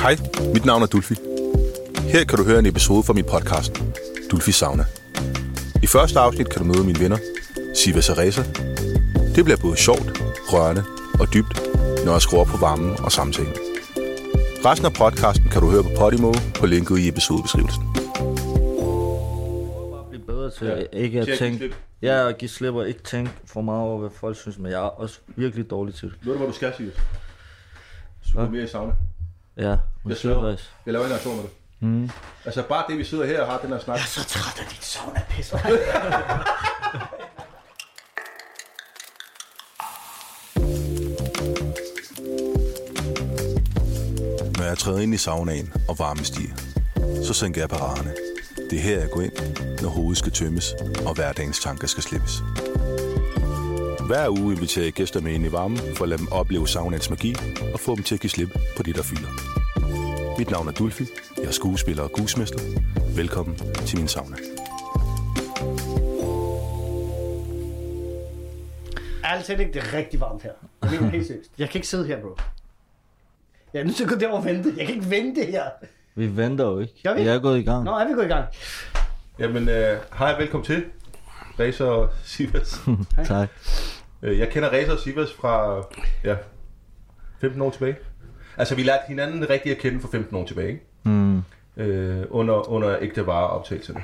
Hej, mit navn er Dulfi. Her kan du høre en episode fra min podcast, Dulfi Sauna. I første afsnit kan du møde mine venner, Siva Saresa. Det bliver både sjovt, rørende og dybt, når jeg skruer op på varmen og samtalen. Resten af podcasten kan du høre på Podimo på linket i episodebeskrivelsen. blive bedre til ja. ikke at Til at give tænke. slip. Ja, at give slip og ikke tænke for meget over, hvad folk synes, men jeg er også virkelig dårlig til det. Ved du, hvor du skal, Sirius? Super mere i sauna. Ja, men Jeg sværger. sygeplejerske. Jeg laver en aktion med det. Mm. Altså bare det, vi sidder her og har den her snak. så træt af dit sauna-pis. Når jeg træder ind i saunaen og varmen stiger, så sænker jeg paraderne. Det er her, jeg går ind, når hovedet skal tømmes og hverdagens tanker skal slippes. Hver uge inviterer jeg gæster med ind i varmen for at lade dem opleve saunaens magi og få dem til at give slip på det, der fylder. Mit navn er Dulfi. Jeg er skuespiller og gusmester. Velkommen til min sauna. Ærligt talt, ikke, det er rigtig varmt her. Jeg mener helt seriøst. Jeg kan ikke sidde her, bro. Jeg er nødt til at gå derover og vente. Jeg kan ikke vente her. Vi venter jo ikke. Gør vi? Jeg er gået i gang. Nå, er vi gået i gang? Jamen, øh, hej og velkommen til. Racer og Sivas. Tak. Øh, jeg kender Racer og Sivas fra ja, 15 år tilbage. Altså, vi lærte hinanden rigtig at kende for 15 år tilbage, ikke? Mm. Øh, under, under ægte vareoptagelserne.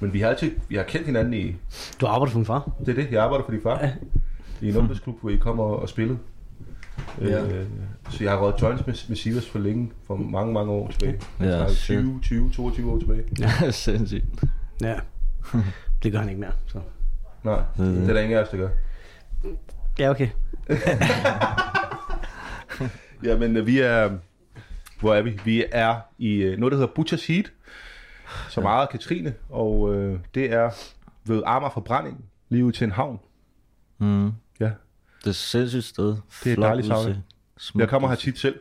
Men vi har altid vi har kendt hinanden i... Du arbejder for min far. Det er det, jeg arbejder for din far. I en ungdomsklub, hvor I kommer og spillede. Ja. Øh, så jeg har røget joints med, med Sivas for længe, for mange, mange år tilbage. Ja, Ja, shit. 20, 20, 22 år tilbage. Ja, sindssygt. Ja. Det gør han ikke mere. Så. Nej, det er der ingen af os, der gør. Ja, okay. Ja, men øh, vi er... Hvor er vi? Vi er i øh, noget, der hedder Butchers Heat, som ejer Katrine, og øh, det er ved Amager Forbrænding, lige ud til en havn. Mm. Ja. Det er et sindssygt sted. Det er et dejligt sauna. Jeg kommer her tit selv,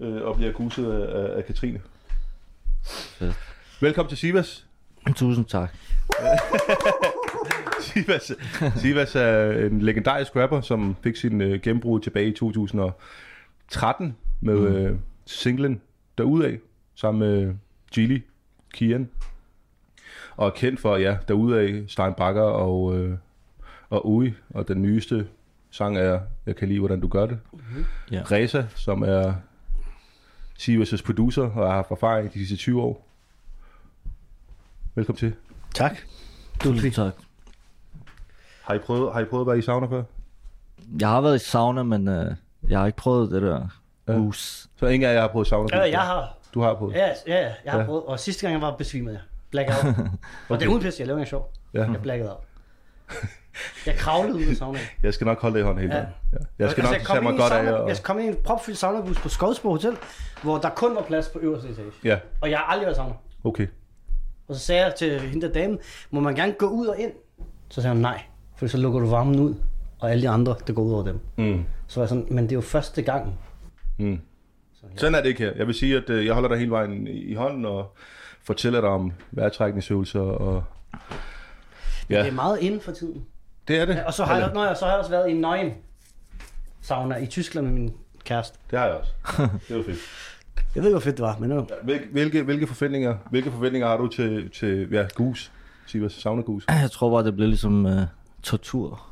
øh, og bliver kuset af, af- af Katrine. Fedt. Velkommen til Sivas. Tusind tak. Sivas, Sivas er en legendarisk rapper, som fik sin øh, gennembrud tilbage i 2013 med mm. øh, singlen Derudaf, sammen med Gili, Kian. Og er kendt for, ja, Derudaf, Stein Bakker og, øh, og Ui. Og den nyeste sang er Jeg kan lide, hvordan du gør det. Ja. Ja. Reza, som er Sivas' producer og har haft erfaring de sidste 20 år. Velkommen til. Tak. Tusind tak. Har I prøvet, har I prøvet at være i sauna før? Jeg har været i sauna, men øh, jeg har ikke prøvet det der Ja. hus. Så ingen af jer har prøvet sauna? Ja, jeg har. Du har prøvet? Ja, ja, ja, jeg har Ja. prøvet. Og sidste gang, jeg var besvimet, jeg. Blackout. Og det er uden pis, jeg laver ikke sjov. Ja. Jeg blackede out. Jeg kravlede ud af saunaen. Jeg skal nok holde det i hånden hele Ja. Altså, tiden. Ja. Jeg skal nok tage kom mig ind i godt sauna- af. Og... Jeg kom ind i en propfyldt saunabus på Skodsborg Hotel, hvor der kun var plads på øverste etage. Ja, Og jeg har aldrig været i sauna. okay. Og så sagde jeg til hende der dame, må man gerne gå ud og ind? Så sagde hun nej, for så lukker du varmen ud, og alle de andre, det går ud over dem. Mm. Så var jeg sådan, men det er jo første gang. Mm. Sådan er det ikke her. Jeg vil sige, at øh, jeg holder dig hele vejen i i hånden og fortæller dig om vejrtrækningsøvelser. Og... Ja. Ja, Det er meget inden for tiden. det er det. Og så har, jeg, Eller- nå, ja, så har jeg også været i Nøgen sauna i Tyskland med min kæreste. Det har jeg også. Det var fedt. Jeg ved ikke, hvor fedt det var, men det var- Hvil, hvilke, hvilke, forventninger, hvilke forventninger har du til, til ja, gus? Sivas, sauna gus. Jeg tror bare, det bliver ligesom øh, tortur.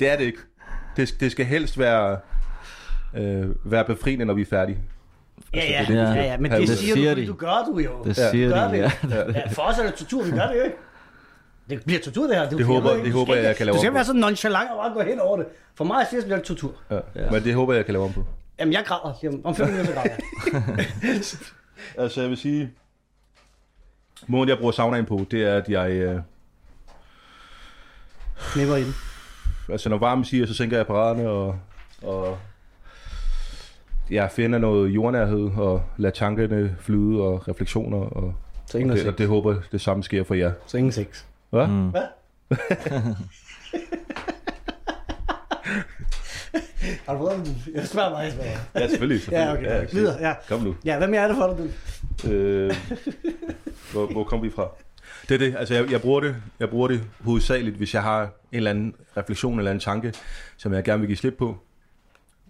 Det er det ikke. Det, det skal helst være, øh, være befriende, når vi er færdige. ja, ja, det er det, ja, vi ja, skal- men Ja, det det siger, siger du, fordi de. du gør du jo. Det Ja. siger gør de, vi. ja. Ja, for os er det tortur, vi gør det jo ikke. Det bliver tortur, det her. Det, er jo Det fordi, håber- ved ikke, det du håber skal jeg, ikke- jeg kan lave Du skal om ikke være sådan nonchalant og bare gå hen over det. For mig er det bliver det tortur. Ja. Ja. Men det håber jeg, jeg kan lave om på. Jamen, jeg græder. lige Om om fem minutter, så græder jeg. Altså, jeg vil sige... Måden, jeg bruger saunaen på, det er, at jeg... Øh, Knipper i den. altså, når varmen siger, så sænker jeg paraderne og... og jeg finder noget jordnærhed og lader tankerne flyde og refleksioner. Og, Så ingen og, det, sex. og det håber jeg, det samme sker for jer. Så ingen sex. Hvad? Mm. Har du prøvet det? Jeg spørger mig. jeg spørger. Ja, selvfølgelig. selvfølgelig. Ja, okay. Videre, ja. Kom nu. Ja, hvad mere er det for dig? du? Øh, hvor, hvor kom vi fra? Det er det. Altså, jeg, jeg, bruger det, jeg bruger det hovedsageligt, hvis jeg har en eller anden refleksion eller en tanke, som jeg gerne vil give slip på.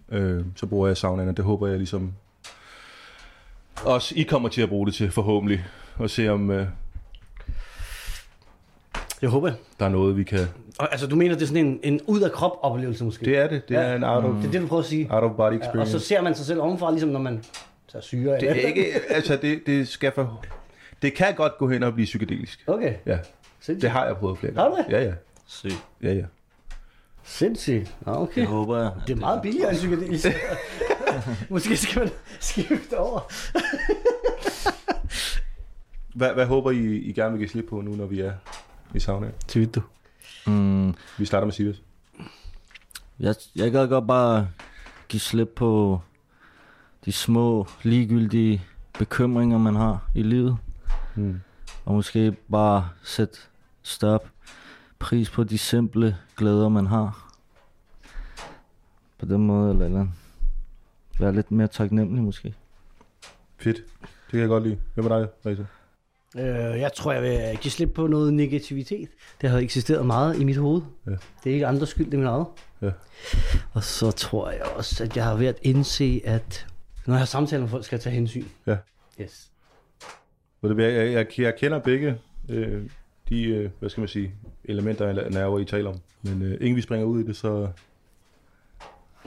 Øh, så bruger jeg saunaen, og det håber jeg ligesom også I kommer til at bruge det til, forhåbentlig. Og se om øh, Jeg håber. jeg. der er noget, vi kan... Og, altså, du mener, det er sådan en, en ud-af-krop-oplevelse måske? Det er det. Det Ja. er en out of, det, er det, du prøver at sige. out of body Ja, og experience. så ser man sig selv ovenfra, ligesom når man tager syre. Det eller- er ikke, altså det, det skal for... Det kan godt gå hen og blive psykedelisk. Okay, Ja, det sindssygt. har jeg prøvet flere Har du det? Ja, ja. Sygt. ja, ja. Sindssygt. Nå, okay. Det håber jeg. at Det er meget billigere end psykedelisk. Måske skal man skifte over. Hvad, hvad håber I, I gerne vil give slip på nu, når vi er i saunaen? Tyt du. Mm, Vi starter med Sivas. jeg, jeg gad godt bare give slip på de små, ligegyldige bekymringer, man har i livet. Mm. Og måske bare sætte større pris på de simple glæder, man har. På den måde eller et eller andet. Være lidt mere taknemmelig måske. Fedt. Det kan jeg godt lide. Hvem er dig, Reza? Øh, jeg tror, jeg vil give slip på noget negativitet. Det har eksisteret meget i mit hoved. Ja. Det er ikke andres skyld, det er min eget. Ja. Og så tror jeg også, at jeg har været indse, at når jeg har samtaler med folk, skal jeg tage hensyn. Ja. Yes. Ved du hvad, Jeg, jeg, jeg kender begge øh, de, øh, hvad skal man sige, elementer eller nerver, I taler om. Men øh, inden vi springer ud i det, så,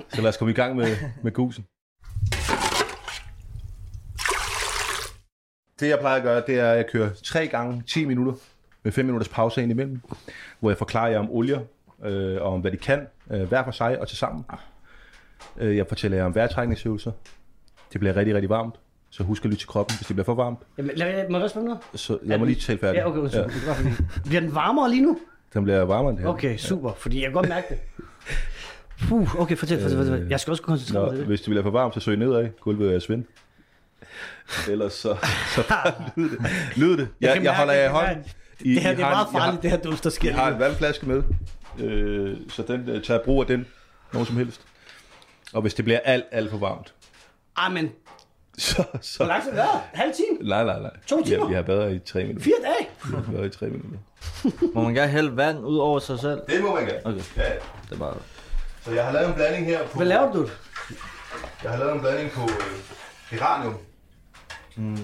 så lad os komme i gang med, med gusen. Det jeg plejer at gøre, det er, at jeg kører 3 gange 10 minutter med 5 minutters pause ind imellem, hvor jeg forklarer jer om olier, øh, og om hvad de kan, øh, hver for sig og til sammen. Øh, jeg fortæller jer om vejrtrækningsøvelser. Det bliver rigtig, rigtig varmt, så husk at lytte til kroppen, hvis det bliver for varmt. Jamen, lad, må jeg også spørge om noget? Så jeg må lige tale færdig. Ja, okay, undskyld. Det var fordi- Bliver den varmere lige nu? Den bliver varmere end det her. Okay, super, fordi jeg kan godt mærke det. Puh, okay, fortæl, fortæl, fortæl. Jeg skal også kunne koncentrere Øh, Nå, mig om det. hvis det bliver for varmt, så søg nedad. Gulvet er svind. Ellers så, så bare lyd det. Lyd det. Jeg, jeg, kan jeg mærke, holder jer i jeg kan hånden. mærke. I, Det her I det er har en- meget I har- farligt, det her duft, der sker. Jeg har en vandflaske med, øh, så den øh, tager brug af den, nogen som helst. Og hvis det bliver alt, alt for varmt, Ej, men så... hvor så lang tid har det været? Halv time? nej, nej, nej. To timer? Jeg, jeg har været i tre minutter. Fire dage? Jeg har været i tre minutter. Må man gerne hælde vand ud over sig selv? Det må man gerne. Okay. Ja, Det er bare... så jeg har lavet en blanding her på... Hvad laver du? Jeg har lavet en blanding på øh, geranium. Mm.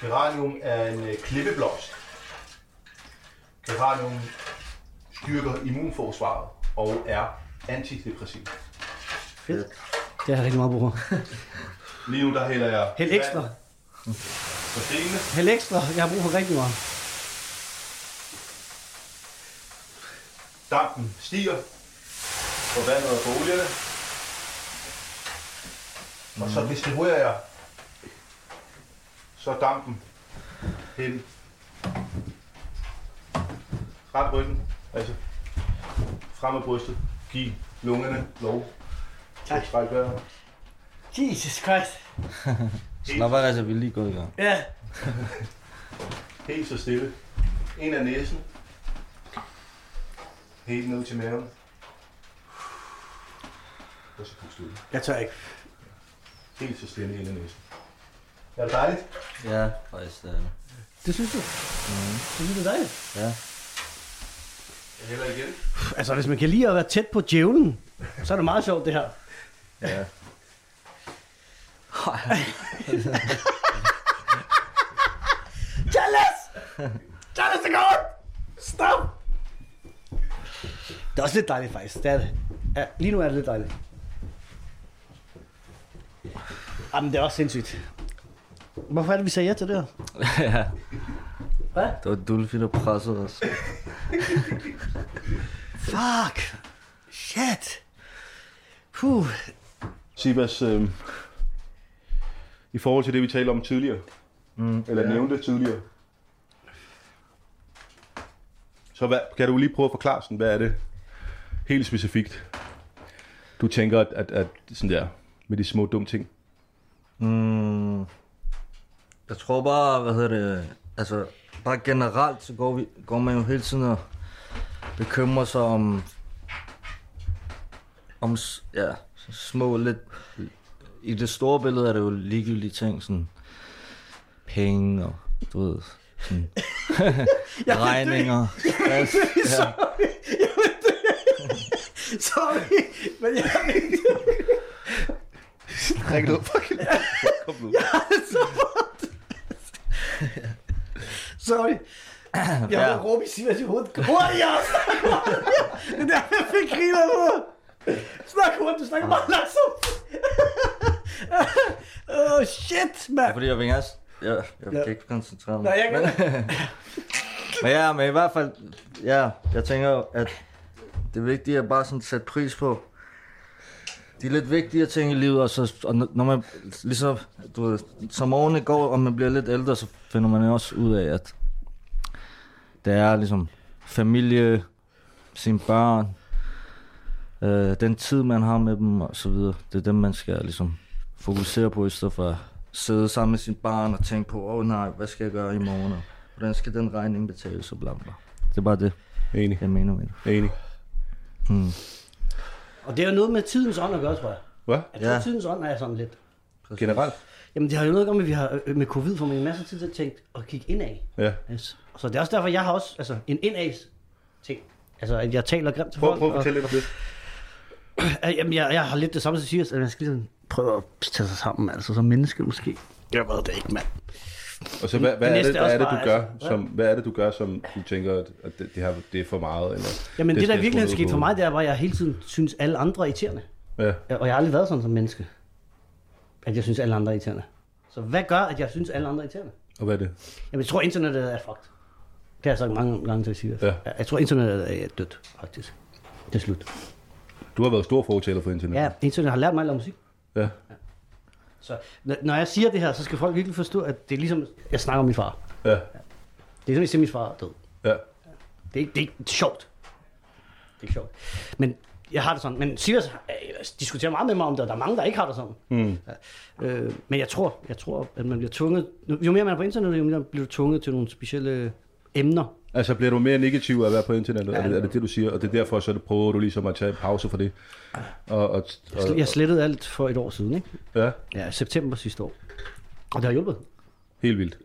Geranium er en øh, klippeblomst. Geranium styrker immunforsvaret og er antidepressiv. Fedt. Det har jeg rigtig meget brug for. Lige nu der hælder jeg Hæld ekstra. vand på stenene. Hæld ekstra. Jeg har brug for rigtig meget. Dampen stiger på vandet og på olierne. Og så distribuerer jeg så dampen hen ret ryggen, altså frem af brystet, giv lungerne lov. Tak. Stræk vejret. Jesus Christ. Slap af, altså, vi er lige gået i gang. Ja. Helt så stille. Ind af næsen. Helt ned til maven. Og så pust ud. Jeg tør ikke. Helt så stille ind af næsen. Er det dejligt? Ja, faktisk. det er det. Det synes du? Det synes du er dejligt. Mm. Ja. Jeg hælder igen. Altså, hvis man kan lide at være tæt på djævlen, så er det meget sjovt, det her. Ja. Charles! Charles, det går! Stop! Det er også lidt dejligt, faktisk. Det er det. Ja, lige nu er det lidt dejligt. Jamen, det er også sindssygt. Hvorfor er det, vi sagde ja til det her? ja. Hvad? Det var Dulfi, der pressede os. Fuck! Shit! Puh. Sibas, øh, i forhold til det, vi talte om tidligere, mm, eller ja. nævnte tidligere, så hvad, kan du lige prøve at forklare, sådan, hvad er det helt specifikt, du tænker, at, at, at sådan der, med de små dumme ting? Mm, jeg tror bare, hvad hedder det, altså bare generelt, så går, vi, går man jo hele tiden og bekymrer sig om, om s- ja, små lidt, i det store billede er det jo ligegyldige ting, sådan penge og, du ved, sådan, regninger. stress, ja. Sorry, men jeg Drik noget fucking kom nu. Sorry. Jeg Ja. ja. råbe i Silas i hovedet. Hurtigere, snak hurtigere. Det er derfor, jeg fik griner nu. Snak hurtigt, du snakker meget langsomt. oh, shit, mand. Fordi jeg vil gerne... Jeg, jeg Ja. kan ikke koncentrere mig. Nej, jeg kan men, men ja, men i hvert fald... Ja, jeg tænker jo, at det vigtige er bare sådan at sætte pris på de lidt vigtige ting i livet, og, så, og når man ligesom, du ved, som årene går, og man bliver lidt ældre, så finder man jo også ud af, at der er ligesom familie, sine børn, øh, den tid, man har med dem og så videre. Det er dem, man skal ligesom fokusere på, i stedet for at sidde sammen med sin barn og tænke på, åh oh, nej, hvad skal jeg gøre i morgen, og hvordan skal den regning betales, og bla bla. Det er bare det, Enig, jeg mener med det. enig. Og det er jo noget med tidens ånd at gøre, tror jeg. Hvad? Jeg tror, Ja. ja. tidens ånd er sådan lidt. Generelt? Jamen, det har jo noget at gøre med, at vi har øh, med covid, for man en masse tid til at tænke og kigge indad. Ja. Yes. Så det er også derfor, jeg har også altså, en indads ting. Altså, at jeg taler grimt til Prøv, folk. prøv at og- fortælle lidt om det. Ja, Jamen, jeg, jeg har lidt det samme som Sirius, at man skal ligesom prøve at tage sig sammen, altså som menneske måske. Jeg ved det ikke, mand. Og så hvad, hvad, Det er, næste det, er hvad er det, også du bare, gør, altså, som, hvad er det, du gør, som du tænker, at- at det, det, her, det er for meget? Eller, Jamen, det, det skal der jeg virkelig er skrue ned sket for på? mig, det er, at jeg hele tiden synes, alle andre er irriterende. Ja. Ja, Og jeg har aldrig været sådan som menneske. At jeg synes, alle andre er irriterende. Så hvad gør, at jeg synes, alle andre er irriterende? Og hvad er det? Jamen, jeg tror, internettet er fucked. Det har jeg sagt mange gange til Sirius. Ja. Jeg tror, internettet er dødt, faktisk. Det er slut. Du har været stor fortaler for internet. Ja, internettet har lært mig at lave musik. ja. Så n- når jeg siger det her, så skal folk virkelig forstå, at det er ligesom, jeg snakker om min far. Ja. Det er ligesom, at min far er død. Ja. Det er, ikke, det er ikke sjovt. Det er ikke sjovt. Men jeg har det sådan. Men Silas øh, diskuterer meget med mig om det, og der er mange, der ikke har det sådan. Mm. Ja. Øh, men jeg tror, jeg tror, at man bliver tvunget... Jo mere man er på internettet, jo mere bliver du tvunget til nogle specielle emner. Altså bliver du mere negativ af at være på internettet? Ja, er, det, er det det, du siger? Og det er derfor, så prøver du ligesom at tage en pause for det? Og, og, og, Jeg slettede alt for et år siden, ikke? ja, Ja, september sidste år. Og det har hjulpet. helt vildt.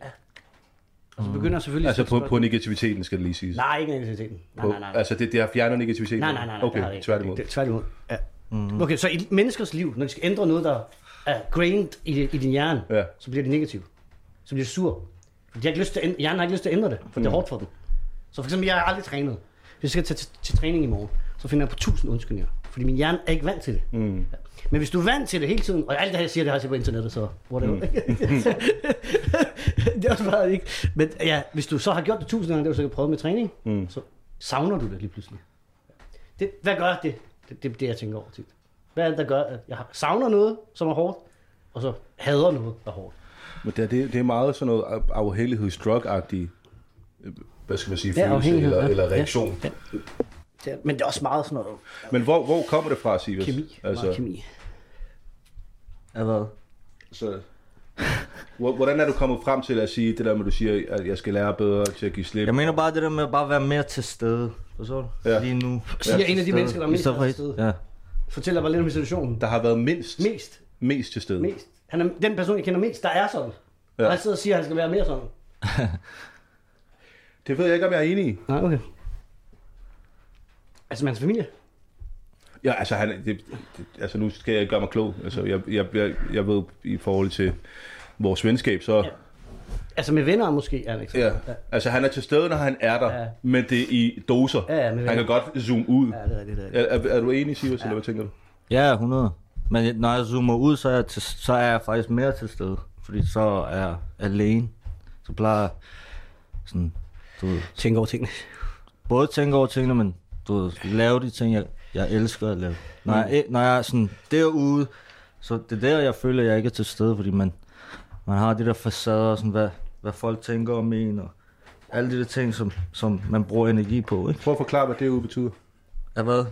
Og så begynder jeg selvfølgelig... Altså at stille på, på negativiteten skal det lige siges. spørgsmål. Nej, ikke negativiteten. Nej, På- nej, nej. nej. Altså det, det har fjernet negativiteten? Nej, nej, nej, nej det har det Okay, ikke. tværtimod. Det, tværtimod, ja. Mm. Okay, så i menneskers liv, når de skal ændre noget, der er grained i, i din hjerne, Ja. ja. så bliver det negativt. Så bliver det sur. Fordi jeg har ikke lyst til at ændre, hjernen har ikke lyst til at ændre det, for mm. det er hårdt for den. Så for eksempel, jeg har aldrig trænet. Hvis jeg skal tage til, til træning i morgen, så finder jeg på tusind undskyldninger. Fordi min hjerne er ikke vant til det. Mm. Ja. Men hvis du er vant til det hele tiden, og alt det her, jeg siger, det har jeg set på internettet, så whatever. Mm. det er også bare ikke. Men ja, hvis du så har gjort det tusind gange, det har du sikkert prøvet med træning, mm. så savner du det lige pludselig. Det, hvad gør det? Det er det, det, jeg tænker over tit. Hvad er det, der gør, at jeg savner noget, som er hårdt, og så hader noget, der er hårdt? Men det, er- det, det er meget sådan noget af- afhængighedsdrug-agtig, øh, hvad skal man sige, Ja, følelse afhængighed, eller, ja. eller reaktion. Ja. Det er, men det er også meget sådan noget Men hvor, hvor kommer det fra, Sivas? kemi. Altså, Altså, meget kemi. Ja, hvad? Så, Hvor- hvordan er du kommet frem til at sige det der med, du siger, at jeg skal lære bedre til at give slip? Jeg mener bare det der med at bare være mere til stede. Forstår du? Ja. Lige nu. Siger en af de mennesker, der er I mest stedet for til et- stede. Ja. Fortæl dig bare lidt om situationen. Der har været mindst, Mest. mest til stede. Mest. Han er den person, jeg kender mest, der er sådan. Ja. Og han sidder og siger, at han skal være mere sådan. Det ved jeg ikke, om jeg er enig i. Nej, okay. Altså, med hans familie. Ja, altså, han, det, det, altså nu skal jeg gøre mig klog. Altså, jeg, jeg, jeg, jeg ved i forhold til vores venskab, så... Ja. Altså, med venner måske, Alex. Ja. Altså, han er til stede, når han er der, ja. Ja. men det er i doser. Ja, ja, men han vel. kan godt zoome ud. Ja, det er rigtigt, det er rigtigt. Er, er, er du enig, Sivas, ja. eller hvad tænker du? ja, 100. Men når jeg zoomer ud, så er jeg, til, så er jeg faktisk mere til stede. Fordi så er jeg alene. Så plejer jeg sådan, du ved, Tænk over tingene. både tænke over tingene, men du ved, lave de ting, jeg, jeg elsker at lave. Når Mm. jeg, e-, når jeg er sådan derude, så det er der, jeg føler, at jeg ikke er til stede, fordi man, man har de der facader, og sådan, hvad, hvad folk tænker om en, og alle de der ting, som, som man bruger energi på, ikke? Prøv at forklare, hvad det ude betyder. Er hvad?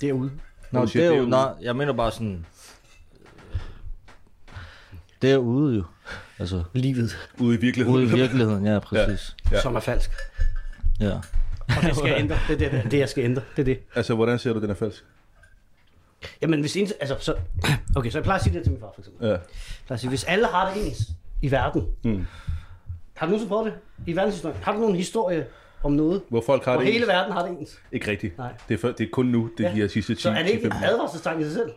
Derude. Nå, Du siger derude, derude. nej, jeg mener bare sådan... Derude jo. Altså, Livet, Ude i virkeligheden. ude i virkeligheden, ja, præcis. Ja. ja. som er falsk. Ja. ja. Og det skal jeg ændre. Det er det, det, er det, jeg skal ændre. Det er det. Altså, hvordan ser du, den er falsk? Jamen, hvis en, altså, så, okay, så jeg plejer at sige det her til min far, for eksempel. Ja. Jeg plejer at sige, hvis alle har det ens i verden, mm. har du nogensinde prøvet det i verdenshistorien? Har du nogen historie om noget, Hvor folk har hvor det hele ens? verden har det ens? Ikke rigtigt. Nej. Det er, for, det er kun nu, det er de her sidste 10 så er det ikke et 15 år. advarselstegn i sig selv?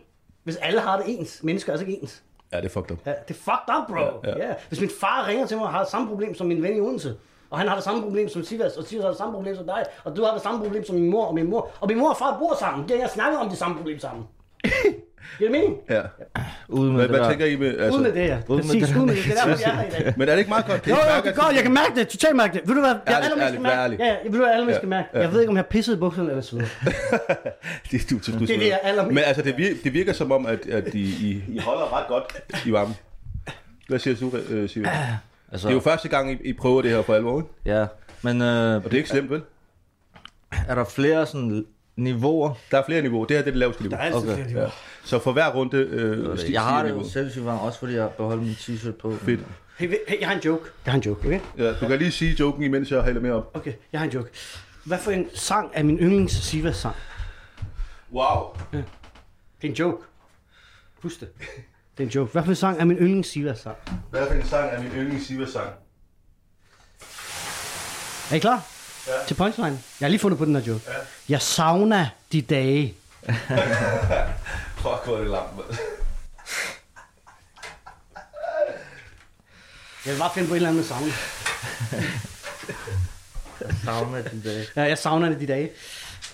Hvis alle har det ens, mennesker er altså ikke ens. Ja, det er fucked up. Ja, det er fucked up, bro. Ja, ja. Ja. Hvis min far ringer til mig og har det samme problem som min ven i Odense, og han har det samme problem som Sivas, og Sivas har det samme problem som dig, og du har det samme problem som min mor og min mor, og min mor og far bor sammen, det jeg snakker om det samme problem sammen. Giver det mening? Ja. Ude med Hvad, det hvad der. tænker I med... Altså, Uden med det her. Ud med Præcis, det der uden med det. Det er derfor, jeg er her i dag. Men er det ikke meget godt? Jo, jo, det mærker- er godt. Jeg kan mærke det. Totalt mærke det. Ved du hvad? Jeg Ærligt, allermest ærligt, kan vær mærke. ærlig. Ja, ja, ved du hvad, jeg allermest Ja, kan mærke. ja. Jeg ved ikke, om jeg pissede i bukserne eller sved. Det, du, du, du, det, jeg allermest- Men altså, det virker, det virker som om, at, at I, I, I holder ret godt i varmen. Hvad siger du, øh, Simon? Ah, Det Altså, er jo første gang, I, I prøver det her for alvor, ikke? ja. Men øh, Og det er ikke slemt, vel? er der flere sådan niveauer? Der er flere niveauer. Det her det er det laveste niveau. altid flere ja. Så for hver runde øh, sti- Jeg har det jo niveauet. sindssygt varmt, også fordi jeg beholder min t-shirt på. Fedt. Hey, hey, jeg har en joke. Jeg har en joke, okay? Ja, du kan lige sige joken, imens jeg hælder mere op. Okay, jeg har en joke. Hvad for en sang er min yndlings Sivas sang? Wow. Det er en joke. Husk det. Det er en joke. Hvad for en sang er min yndlings Sivas sang? Hvad for en sang er min yndlings Sivas-sang? Er I klar? Ja. Til punchline. Jeg har lige fundet på den her joke. Ja. Jeg savner de dage. Fuck, hvor er det langt, mand. Jeg vil bare finde på et eller andet med savne. Savner den dag. Ja, jeg savner det de dage.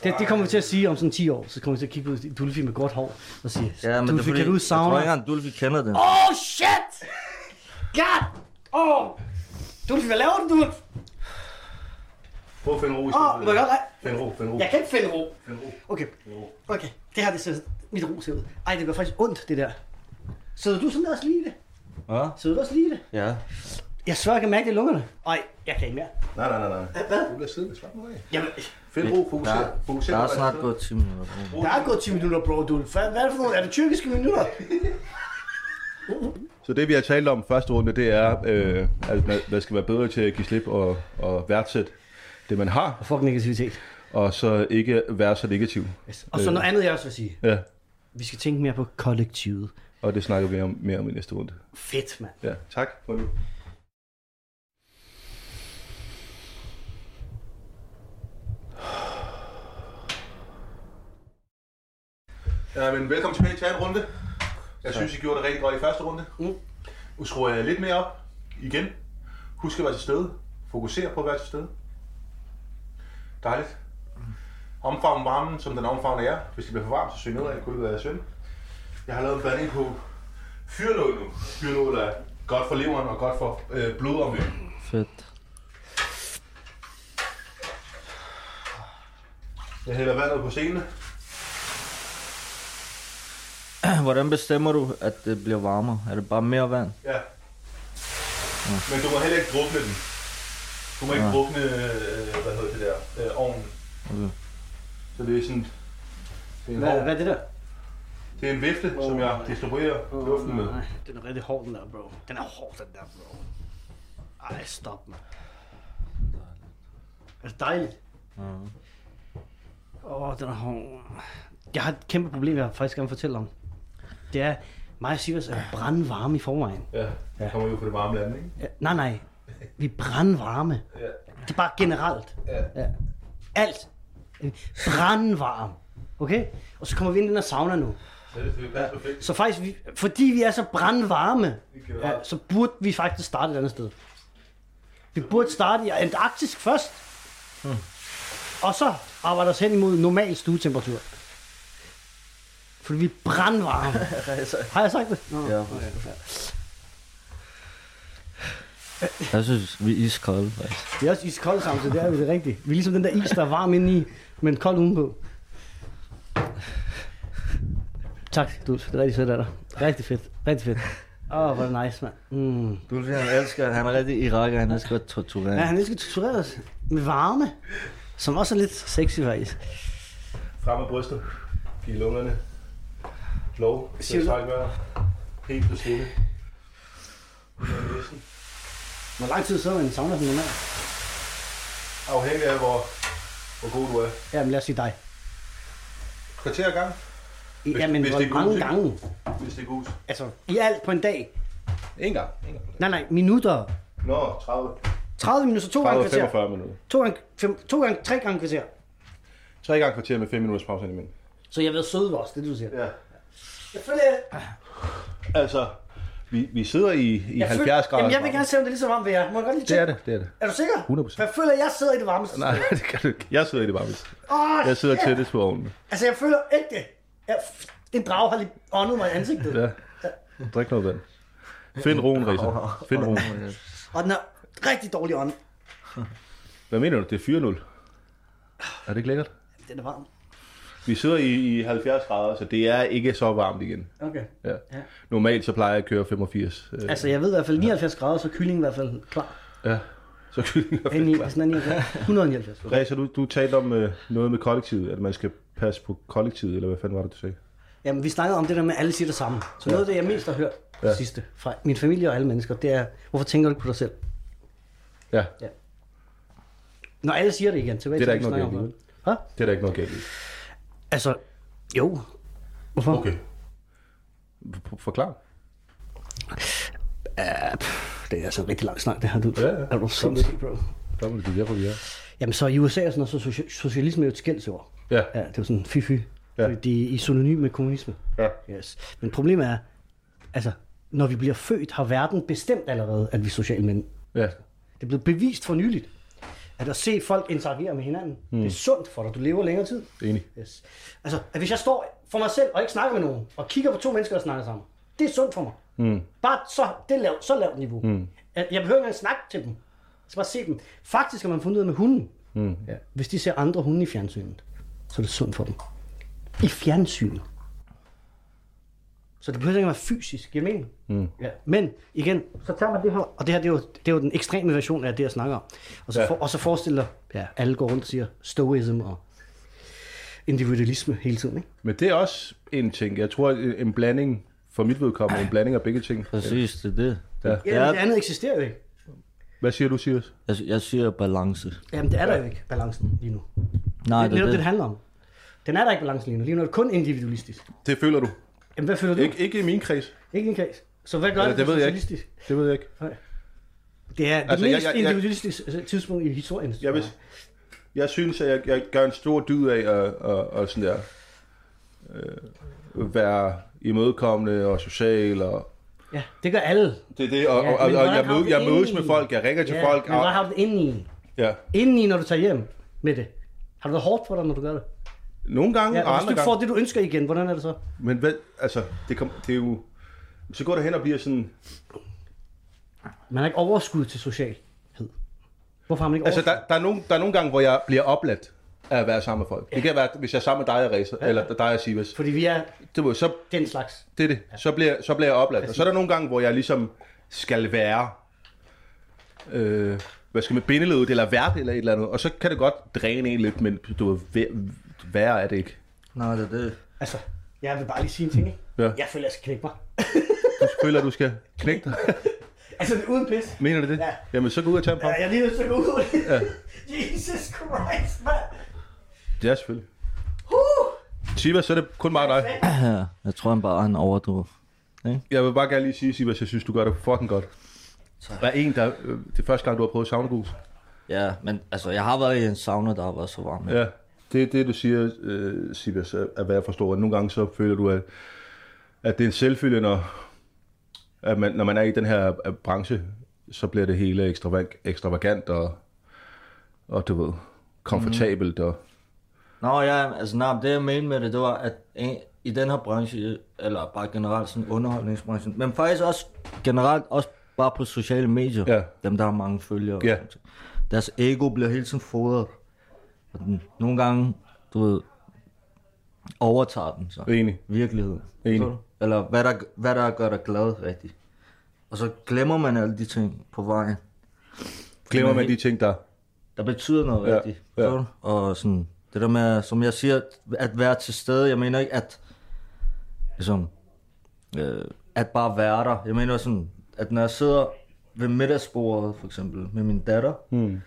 Det, det kommer vi til at sige om sådan 10 år. Så kommer vi til at kigge ud i Dulfi med godt hår og sige, Ja, men det er Dulfi, fordi, kan du Jeg tror savne? ikke engang, Dulfi kender den. Oh shit! God! Oh! Dulfi, hvad laver du, Dulfi? Prøv at finde ro i Åh, må jeg godt? Nej, Find ro, find ro, Jeg kan ikke finde ro. find ro. Okay, okay. Det her, det ser mit ro ser ud. Ej, det gør faktisk ondt, det der. Sidder du sådan også lige i det? Hvad? Sidder du også lige i det? Ja. Jeg svær, jeg kan mærke det i lungerne. Ej, jeg kan ikke mere. Nej, nej, nej, nej. Du bliver siddende, slap nu af. Jamen, Find ro, fokuser. Fokuser Der på, er hvad snart der gået 10 minutter. bro. der er gået 10 minutter, bro. Du, hvad hvad er det for nogle? Er det tyrkiske minutter? Så det vi har talt om første runde, det er, øh, at man, man skal være bedre til at give slip og, og værdsætte det, man har, Fuck negativitet. og så ikke være så negativ. Yes. Og så noget andet, jeg også vil sige. Ja, Vi skal tænke mere på kollektivet. og det snakker vi om, mere om i næste runde. Fedt, mand. Ja, tak for nu. Ja, men velkommen tilbage til anden runde. Jeg synes, I gjorde det rigtig godt i første runde. Mm. Nu skruer jeg lidt mere op igen. Husk at være til stede. Fokuser på at være til stede. Dejligt. Omfavn varmen, som den omfavner jer. Hvis det bliver for varmt, så søg nedad. Det kunne være synd. Jeg har lavet en blanding på fyrlål nu. Fyrlål er godt for leveren og godt for øh, blodomløbet. Fedt. Jeg hælder vandet på scenen. Hvordan bestemmer du, at det bliver varmere? Er det bare mere vand? Ja. Men du må heller ikke drukne den. Du må ikke Nej. drukne, øh, hvad hedder det der, øh, ovnen. Okay. Så det er sådan, det er en, Hvad, hård, hvad er det der? det er en vifte, som jeg distribuerer luften med. Nej, den er rigtig hård, den der, bro. Den er hård, den der, bro. Ej, stop, mand. Er det dejligt? Mhm. Åh, oh, den er hård. Jeg har et kæmpe problem, jeg faktisk gerne vil fortælle om. Det er, mig og Sivas er brandvarme i forvejen. Ja, jeg kommer jo fra det varme land, ikke? Ja, nej, nej. Vi er brandvarme. Ja. Det er bare generelt. Ja. Ja. Alt. Brandvarm. Okay? Og så kommer vi ind i den her sauna nu. Så det, det passer perfekt. Så faktisk, vi, fordi vi er så brandvarme, Generelt. ja, så burde vi faktisk starte et andet sted. Vi burde starte i Antarktis først. Hmm. Og så arbejde os hen imod normal stuetemperatur. Fordi vi er brandvarme. Har jeg sagt det? Nå. Ja. Jeg synes, vi er iskolde, faktisk. Vi er også iskolde samtidig, det er vi det er rigtigt. Vi er ligesom den der is, der er varm indeni, men kold udenpå. Tak, du. Det er rigtig fedt af dig. Rigtig fedt. Rigtig fedt. Åh, oh, hvor er det nice, mand. Mm. Dulfi, han elsker, han er rigtig iraker, han elsker at torturere. Ja, han elsker tortureres med varme, som også er lidt sexy faktisk. Frem med brystet. Giv lungerne. Lov. Siger Sæt du- træk vejret. Helt på stille. Ud af næsen. Hvor lang tid sidder man i sauna som normalt? Afhængig af, hvor, hvor god du er. Jamen lad os sige dig. Kvarter ad gang, I, jamen, hvis hvor det er god mange tid. gange? hvis det er god. Altså, i alt på en dag? En gang. En gang. Nej, nej, minutter. Nå, 30. 30 minutter, to gange 30 kvarter. 45 minutter. To gange, fem, to gange, tre gange kvarter. Tre gange kvarter med 5 minutters pause imellem. Så jeg har været sød ved os, det er det, du siger. Ja. Selvfølgelig. Altså, Vi, vi sidder i, i Jeg 70 føler- grader. Jamen, jeg vil gerne se, om det er lige så varmt, ved jer. Må jeg godt lige Det tjekke? er det, det er det. Er du sikker? 100%. For jeg føler, at jeg sidder i det varmeste. Nej, det kan du ikke. Jeg sidder i det varme. Åh, Jeg sidder shit. tættest på ovnen. Altså, jeg føler ægte. Jeg, en drage har lige åndet mig i ansigtet. Ja. Drik noget vand. Find roen, Risa. Find roen. Og den er rigtig dårlig ånd. Hvad mener du? Det er 4-0. Er det ikke lækkert? Den er varm. Vi sidder i, i 70 grader, så det er ikke så varmt igen. Okay. Ja. Ja. Normalt så plejer jeg at køre 85. Øh, Altså, jeg ved i hvert fald 79 grader, så er kyllingen i hvert fald klar. ja. Så kyllinger Ind i, fedt klar. sådan er 79. 179. Reza, du, du talte om øh, noget med kollektivet, at man skal passe på kollektivet, eller hvad fanden var det, du sagde? Jamen, vi snakkede om det der med, at alle siger det samme. Så noget af det, jeg mest har hørt ja. det sidste fra min familie og alle mennesker, det er, hvorfor tænker du ikke på dig selv? Ja, Når alle siger det igen, tilbage Det er der til, ikke vi noget snakker galt om. Hå? det er der ikke noget galt i. Altså, jo. Hvorfor? F- Forklar. Ja, pff, det er altså en rigtig lang snak, det her. Du, Ja, ja. Er du sindssyg, bro? Kom, det er derfor, vi er. Jamen, så i USA og sådan noget, så socia- socialisme er jo et skældsord. Ja. Ja, det er jo sådan fy-fy. Ja. Ja. Det er i synonym med kommunisme. Ja. Yes. Men problemet er, altså, når vi bliver født, har verden bestemt allerede, at vi er sociale men Ja. Det er blevet bevist for nyligt, at at se folk interagere med hinanden, mm. det er sundt for dig. Du lever længere tid. Enig. Yes. Altså, at hvis jeg står for mig selv og ikke snakker med nogen, og kigger på to mennesker, der snakker sammen, det er sundt for mig. Mm. Bare så, det er lav, så lavt niveau. Mm. Jeg behøver ikke engang snakke til dem. Jeg skal bare se dem. Faktisk har man fundet ud af med hunden. Mm. Ja. Hvis de ser andre hunde i fjernsynet, så er det sundt for dem. I fjernsynet. Så det behøver ikke at være fysisk, giver det mening? Mm. Ja. Men igen, så tager man det her, og det her det er, jo, det er jo den ekstreme version af det, jeg snakker om. Og så, Ja. ja. for, og så forestiller ja, alle går rundt og siger stoism og individualisme hele tiden, ikke? Men det er også en ting. Jeg tror, en en blanding, for mit vedkommende, en blanding af begge ting. Præcis, det er det. Ja. Det, det Ja, men det er, andet eksisterer jo ikke. Hvad siger du, Sirius? jeg, jeg siger balance. Jamen, det er der jo ikke, balancen lige nu. Det Nej, er det netop er det, det det. handler om. Den er der ikke balancen lige nu. Lige nu er det kun individualistisk. Det føler du. Jamen, hvad føler du? Ikke, ikke i min kreds. Ikke en kreds. Så hvad gør Eller, det, det det ved jeg ikke. socialistisk? Det ved jeg ikke. Det er det Altså, altså, jeg- mest jeg- jeg- individualistiske altså, tidspunkt i historien. Jeg, vil, jeg synes, at jeg, jeg gør en stor dyd af at, at, at sådan der, øh, være imødekommende og social. Og, Ja, det gør alle. det er det, og, Ja, ja, men og, og, og hvordan jeg, har du mød, det jeg mødes egentlig? med folk, jeg ringer til ja, folk. Men hvad Og, har du det inde i? ja. Inden i, når du tager hjem med det. Har du det hårdt for dig, når du gør det? Nogle gange Ja, ja, og og hvis du andre ikke gange. får det, du ønsker igen, hvordan er det så? Men hvad, altså, det, kom, det er jo... Så går det hen og bliver sådan... Man har ikke overskud til socialhed. Hvorfor har man ikke Altså, overskud? der, der, er nogle, der er nogle gange, hvor jeg bliver opladt af at være sammen med folk. Ja. Det kan være, hvis jeg er sammen med dig og Reza, ja. eller dig og Sivas. Fordi vi er Det, må- så, den slags. det er det. Så bliver, så bliver jeg opladt. Og så er der nogle gange, hvor jeg ligesom skal være... Øh, hvad skal man, bindeledet eller vært eller et eller andet. Og så kan det godt dræne en lidt, men du ved, væ- værre er det ikke. Nej, det er det. Altså, jeg vil bare lige sige en ting, ikke? Ja. Jeg føler, jeg skal knække mig. Du føler, du skal knække dig. Altså, det er uden pis. Mener du det? Ja. Jamen, så gå ud og tage en Ja, pop. jeg er lige nødt til at gå ud. Jesus Christ, mand. Ja, selvfølgelig. Uh! Sivas, så er det kun mig og dig. Ja, jeg tror han bare han overdriver. Jeg vil bare gerne lige sige, Sivas, jeg synes, du gør det fucking godt. Der er en, der... Øh, det er første gang, du har prøvet saunagrusen. Ja, men altså, jeg har været i en sauna, der har været så varm. Ja. Ja, det er det, du siger, øh, Sivas, er, er hvad jeg forstår. Nogle gange så føler du, at, at det er en selvfølge, når, at man, når man er i den her øh, branche, så bliver det hele ekstrava- ekstravagant og, og du ved, komfortabelt. Og, Nå ja, altså nej, det jeg mente med det, det var, at en, i den her branche, eller bare generelt sådan underholdningsbranchen, men faktisk også generelt også bare på sociale medier, Ja. dem der har mange følgere, og Ja. sådan ting. deres ego bliver hele tiden fodret. Og den, nogle gange, du ved, overtager den Mm. så. Enig. Virkeligheden. Enig. Forstår du? Eller hvad der, hvad der gør dig glad rigtigt. Og så glemmer man alle de ting på vejen. glemmer man de ting, der... der betyder noget Ja, ja, rigtigt. ja. Ja. Og sådan, det der med, som jeg siger, at være til stede, jeg mener ikke, at ligesom, øh, at bare være der. Jeg mener sådan, at når jeg sidder ved middagsbordet, for eksempel, med min datter, Hmm. mm.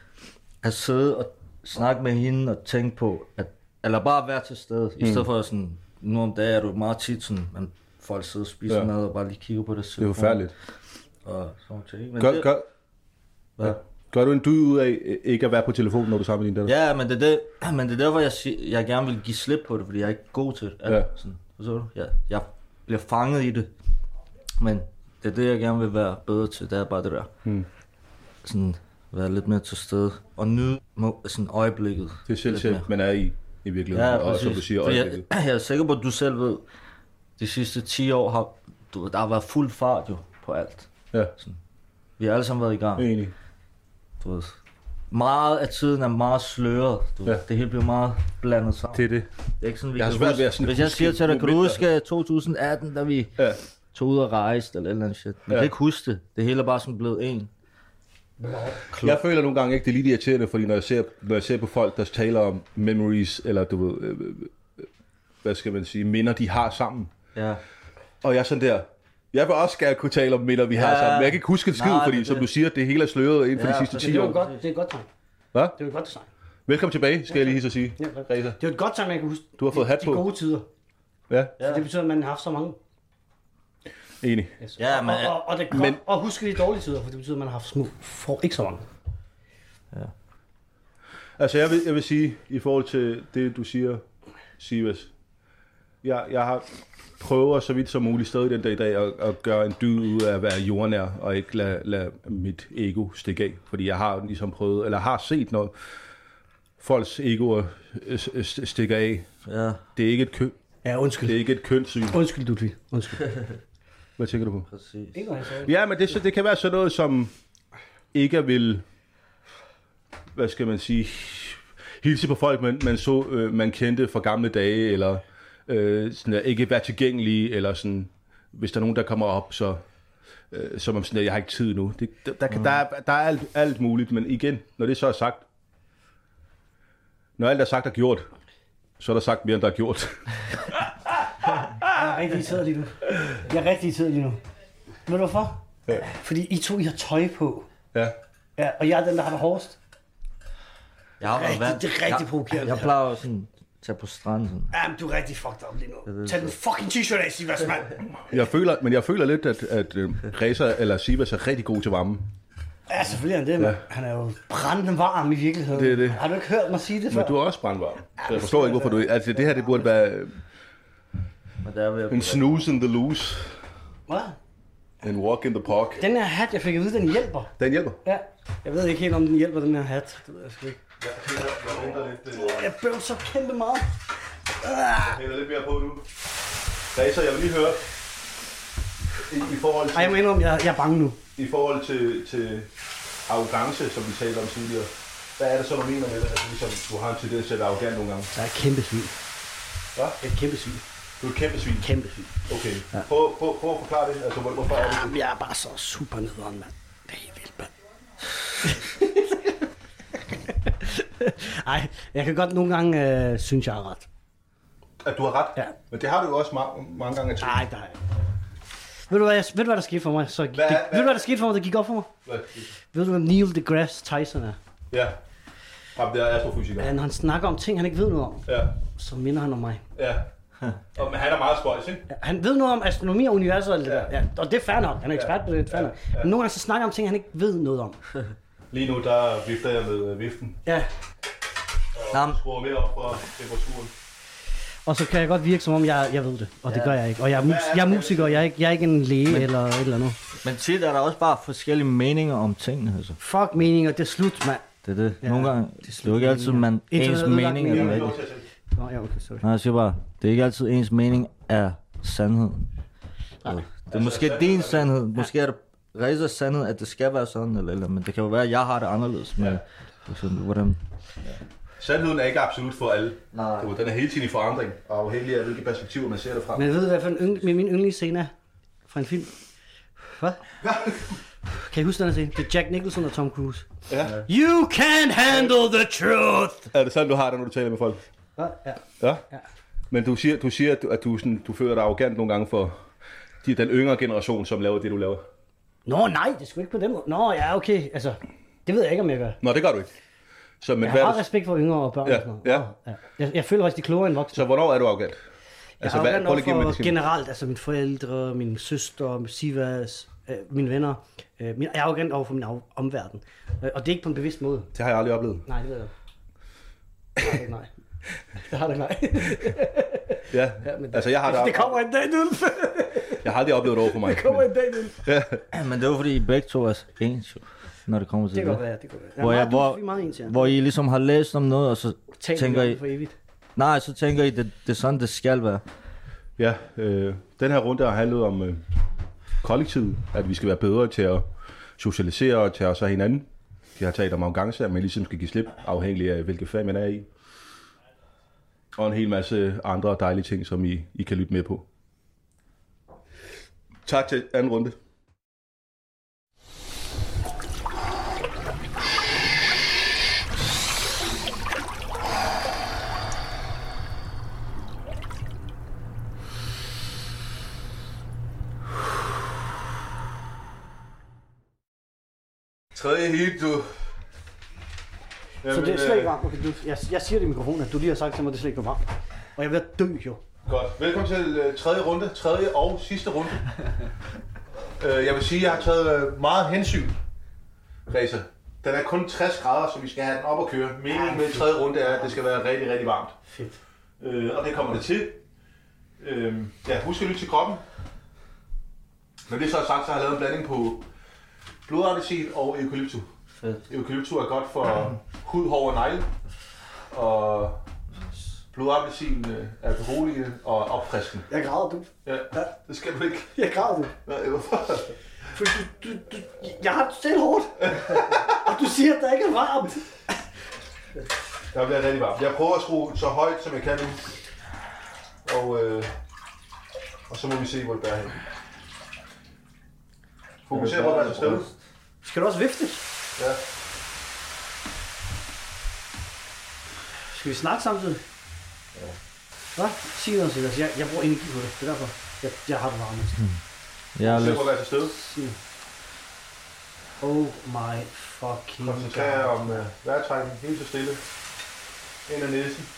at sidde og snakke med hende og tænke på, at, eller bare være til stede, Hmm. i stedet for sådan, nu om dagen er du meget tit sådan, man folk sidder og spiser Ja. ja. mad og bare lige kigger på det. Det er forfærdeligt. Og sådan nogle ting. ikke? Men Gør, det- gør, Hvad? gør du en dyd ud af øh, ikke at være på telefonen, når du er sammen med din datter? Ja, men det, er det, men det er derfor, jeg, siger, jeg gerne vil give slip på det, fordi jeg er ikke god til det. Ja. Sådan, forstår du? Jeg, jeg bliver fanget i det. Men det det er det, jeg gerne vil være bedre til, det er bare det der. Hmm. Mm. Sådan være lidt mere til stede og nyde må- sådan øjeblikket. Det er lidt mere. selvtægt, man er i, i virkeligheden. Ja, og præcis. som du siger, For øjeblikket. jeg, jeg er sikker på, at du selv ved, de sidste 10 år har du, ved, der har været fuld fart jo på alt. Ja, Vi har alle sammen været i gang. enig. Du ved. Meget af tiden er meget sløret. Du ved. Ja. Det hele bliver meget blandet sammen. Det er det. Det er ikke sådan, vi Jeg har kan svært huske- ved at sådan Hvis jeg huske siger til dig, kan du momenter. huske 2018, da vi Ja. tog ud og rejste, eller et eller andet shit. Man Ja. kan ikke huske det. Det hele er bare sådan blevet en. Jeg føler nogle gange ikke, det er lige irriterende, fordi når jeg, ser, når jeg ser på folk, der taler om memories, eller du ved, øh, øh, øh, hvad skal man sige, minder, de har sammen. Ja. Og jeg er sådan der, jeg vil også gerne kunne tale om minder, vi har Ja. sammen, men jeg kan ikke huske en skid, Nej, fordi det er som det. du siger, det hele er sløret inden for Ja, de sidste præcis. Det 10 er jo år. et godt, det er et godt tegn. Hvad? Det er jo et godt tegn. Velkommen tilbage, skal jeg lige hilse at sige. Ja, Reza. Det er jo et godt tegn, jeg kan huske. Du har fået de- hat på. De gode tider. Ja, Ja. Det betyder, at man har haft så mange. enig. Yes. Ja, men- og, og, og, det er godt, Men- men, og huske de dårlige tider, for det betyder, at man har haft små, for ikke så mange. Altså, jeg vil, jeg vil sige, i forhold til det, du siger, Sivas, jeg, jeg har prøver så vidt som muligt stadig den dag i dag at, at gøre en dyd ud af at være jordnær og ikke lade, lade mit ego stikke af. Fordi jeg har ligesom prøvet, eller har set, når folks egoer øh, s- s- stikker af. Ja. Det er ikke et, kø, Ja, undskyld. det er ikke et kønssyn. Undskyld, Ludvig. Undskyld. Hvad tænker du på? Præcis. ikke noget, jeg sagde. Ja, men det, så- det kan være sådan noget, som ikke vil, hvad skal man sige, hilse på folk, man, man, så, øh, man kendte fra gamle dage, eller øh, sådan, at ikke være tilgængelige, eller sådan, hvis der er nogen, der kommer op, så øh, som om sådan, at jeg har ikke tid nu. Det, der, der, kan- der, er, der er alt, alt muligt, men igen, når det så er sagt, når alt er sagt og gjort, så er der sagt mere, end der er gjort. Jeg er rigtig irriteret lige nu. Jeg er rigtig irriteret lige nu. Ved du hvorfor? Ja. Fordi I to, I har tøj på. ja. Ja, og jeg er den, der har det hårdest. Jeg har været Rigtig- vant. det er rigtig Jeg- provokerende. Jeg plejer jo sådan at tage på stranden. Sådan. Jamen, du er rigtig fucked up lige nu. Tag den fucking t-shirt af, Sivas, mand. Jeg føler, men jeg føler lidt, at, at øh, Reza eller Sivas er rigtig god til varmen. Ja, selvfølgelig er han det, mand. Han er jo brændende varm i virkeligheden. Det er det. Har du ikke hørt mig sige det før? Men du er også brandvarm. Så jeg forstår ikke, hvorfor du... Altså, det her, det burde være Men der er ved at en snooze in the loose. Hvad? En walk in the park. Den her hat, jeg fik at vide, den hjælper. Den hjælper. Ja. Jeg ved ikke helt, om den hjælper, den her hat. Det ved jeg sgu ikke. Jeg bøvler så kæmpe meget. Jeg hælder lidt mere på nu. Racer, jeg vil lige høre. I, i forhold Ej, jeg må til, indrømme, jeg, jeg er bange nu. i forhold til, til arrogance, som vi talte om tidligere. Hvad er det så, du mener med det? Altså, ligesom, du har en tendens til at være arrogant nogle gange. Jeg er et kæmpe svin. Hvad? Jeg er et kæmpe svin. Du er et kæmpe svin. Kæmpe svin. Okay. Prøv, prøv, prøv at forklare det. Altså, hvor- hvorfor er det det? Jamen, jeg er bare så super nederen, mand. Det er helt vildt, mand. Ej, jeg kan godt nogle gange øh, synes, jeg har ret. At du har ret. Ja. Men det har du jo også mange, mange gange til. Nej, der er jeg ikke. Ved du, hvad, jeg, ved du, hvad der skete for mig? Så, det, hvad- Ved du, hvad der skete for mig, der gik op for mig? Ved du, hvem Neil deGrasse Tyson er? Ja. Ham der astrofysiker. Ja, når han snakker om ting, han ikke ved noget om, Ja, så minder han om mig. ja. Og, men han er meget spøjs, ikke? Ja, Han ved noget om astronomi og universet og alt det der. Ja, og det er fair nok. Han er ekspert på det, det er fair nok. Men nogle gange så snakker han om ting, han ikke ved noget om. Lige nu, der vifter jeg med øh, viften Ja, Nå, men- og skruer mere op for temperaturen. og så kan jeg godt virke, som om jeg, jeg ved det. Og det gør jeg ikke. Og jeg er, mus- jeg er musiker, jeg er, ikke, jeg er ikke en læge eller et eller andet. Men tit er der også bare forskellige meninger om tingene, altså. Fuck meninger, det er slut, mand. Det er det. Nogle gange, det er jo ikke altid, man, ens Internettet ødelagt mening er den mening. rigtige. Lov til at tænke. Nå, ja, okay, sorry. Nej, jeg siger bare, det er ikke altid ens mening er sandhed. Nej. Det er måske din sandhed, måske er det Rezas sandhed, at det skal være sådan, eller, eller men det kan jo være, at jeg har det anderledes, men ja. sådan, hvordan... Sandheden er ikke absolut for alle. Nej. Du, den er hele tiden i forandring, og afhængig af, hvilke perspektiver man ser det fra. Men ved du, hvad for en yng- min, min yndlingsscene er fra en film? Hvad? Kan I huske den her scene? Det er Jack Nicholson og Tom Cruise. Ja. You can handle the truth! Er det sådan, du har det, når du taler med folk? Hvad? Ja. Ja. ja. Men du siger, du siger at, du, at du, sådan, du føler dig arrogant nogle gange for de, den yngre generation, som laver det, du laver. Nå, nej, det skulle ikke på den måde. Nå, ja, okay. Altså, det ved jeg ikke, om jeg gør. Nå, det gør du ikke. Så, men Jeg hvad er har det, respekt for yngre og børn Ja, og sådan noget. ja. Jeg, jeg føler faktisk, de er klogere end voksne. så hvornår er du arrogant? Altså, jeg hvad- er prøv lige at give mig for det, Simon. generelt, altså mine forældre, min søster, min Sivas, øh, mine venner. Øh, min, jeg er arrogant over for min af, omverden. Øh, og det er ikke på en bevidst måde. Det har jeg aldrig oplevet. Nej, det ved jeg ikke. Nej, det har det ikke, nej. Det har det ikke, nej. Ja, ja men det- altså jeg har det, det kommer en dag, du. Jeg har aldrig oplevet det over for mig. Der kommer en dag, Niels. Men det var fordi, I begge to er ens jo, når det kommer til Det det. kan godt være, det kan godt være. Hvor ja, jeg- meget, hvor- du- vi er meget ens, ja. Hvor I ligesom har læst om noget, og så Taler tænker vi I, om det for evigt. nej, så tænker I, det, det er sådan, det skal være. Ja, øh, den her runde har handlet om øh, kollektivet, at vi skal være bedre til at socialisere og tage os af hinanden. De har talt om arrogance, at man ligesom skal give slip, afhængig af hvilke fag man er i. Og en hel masse andre dejlige ting, som I, I kan lytte med på. Tak til anden runde. Tredje hit, du. Så det er slet ikke varmt. Okay, du, jeg, jeg siger det i mikrofonen, at du lige har sagt til mig, at det slet ikke var varmt. Og jeg er ved at dø, jo. Godt. Velkommen til øh, tredje runde. Tredje og sidste runde. øh, jeg vil sige, at jeg har taget øh, meget hensyn, Reza. Den er kun 60 grader, så vi skal have den op og køre. Meningen med tredje runde er, at det skal være rigtig, rigtig varmt. Fedt. Øh, og det kommer det til. Øh, ja, husk at lytte til kroppen. Når det så er sagt, så har jeg lavet en blanding på blodartesil og eukalyptus. Fedt. Eukalyptus er godt for hud, hår og negle. Og blodartesil øh, er beroligende og opfriskende. Jeg græder, du. Ja, det skal du ikke. Jeg græder, du. Nej, hvorfor? For du, du, du, jeg har det selv hårdt. og du siger, at der ikke er varmt. Jeg bliver rigtig varm. Jeg prøver at skrue så højt, som jeg kan nu. Og, øh, og så må vi se, hvor det bærer hen. Fokuser på at være til stede. Skal du også vifte? Ja. Skal vi snakke samtidig? Ja. Hvad? Sig noget til os. Jeg, jeg bruger energi på det. Det er derfor, jeg, jeg har det varmt. Jeg har Fokuser lyst. på at være til stede. Sig noget. Oh my fucking Koncentrer jer om øh, vejrtrækning. Helt så stille. Ind ad næsen.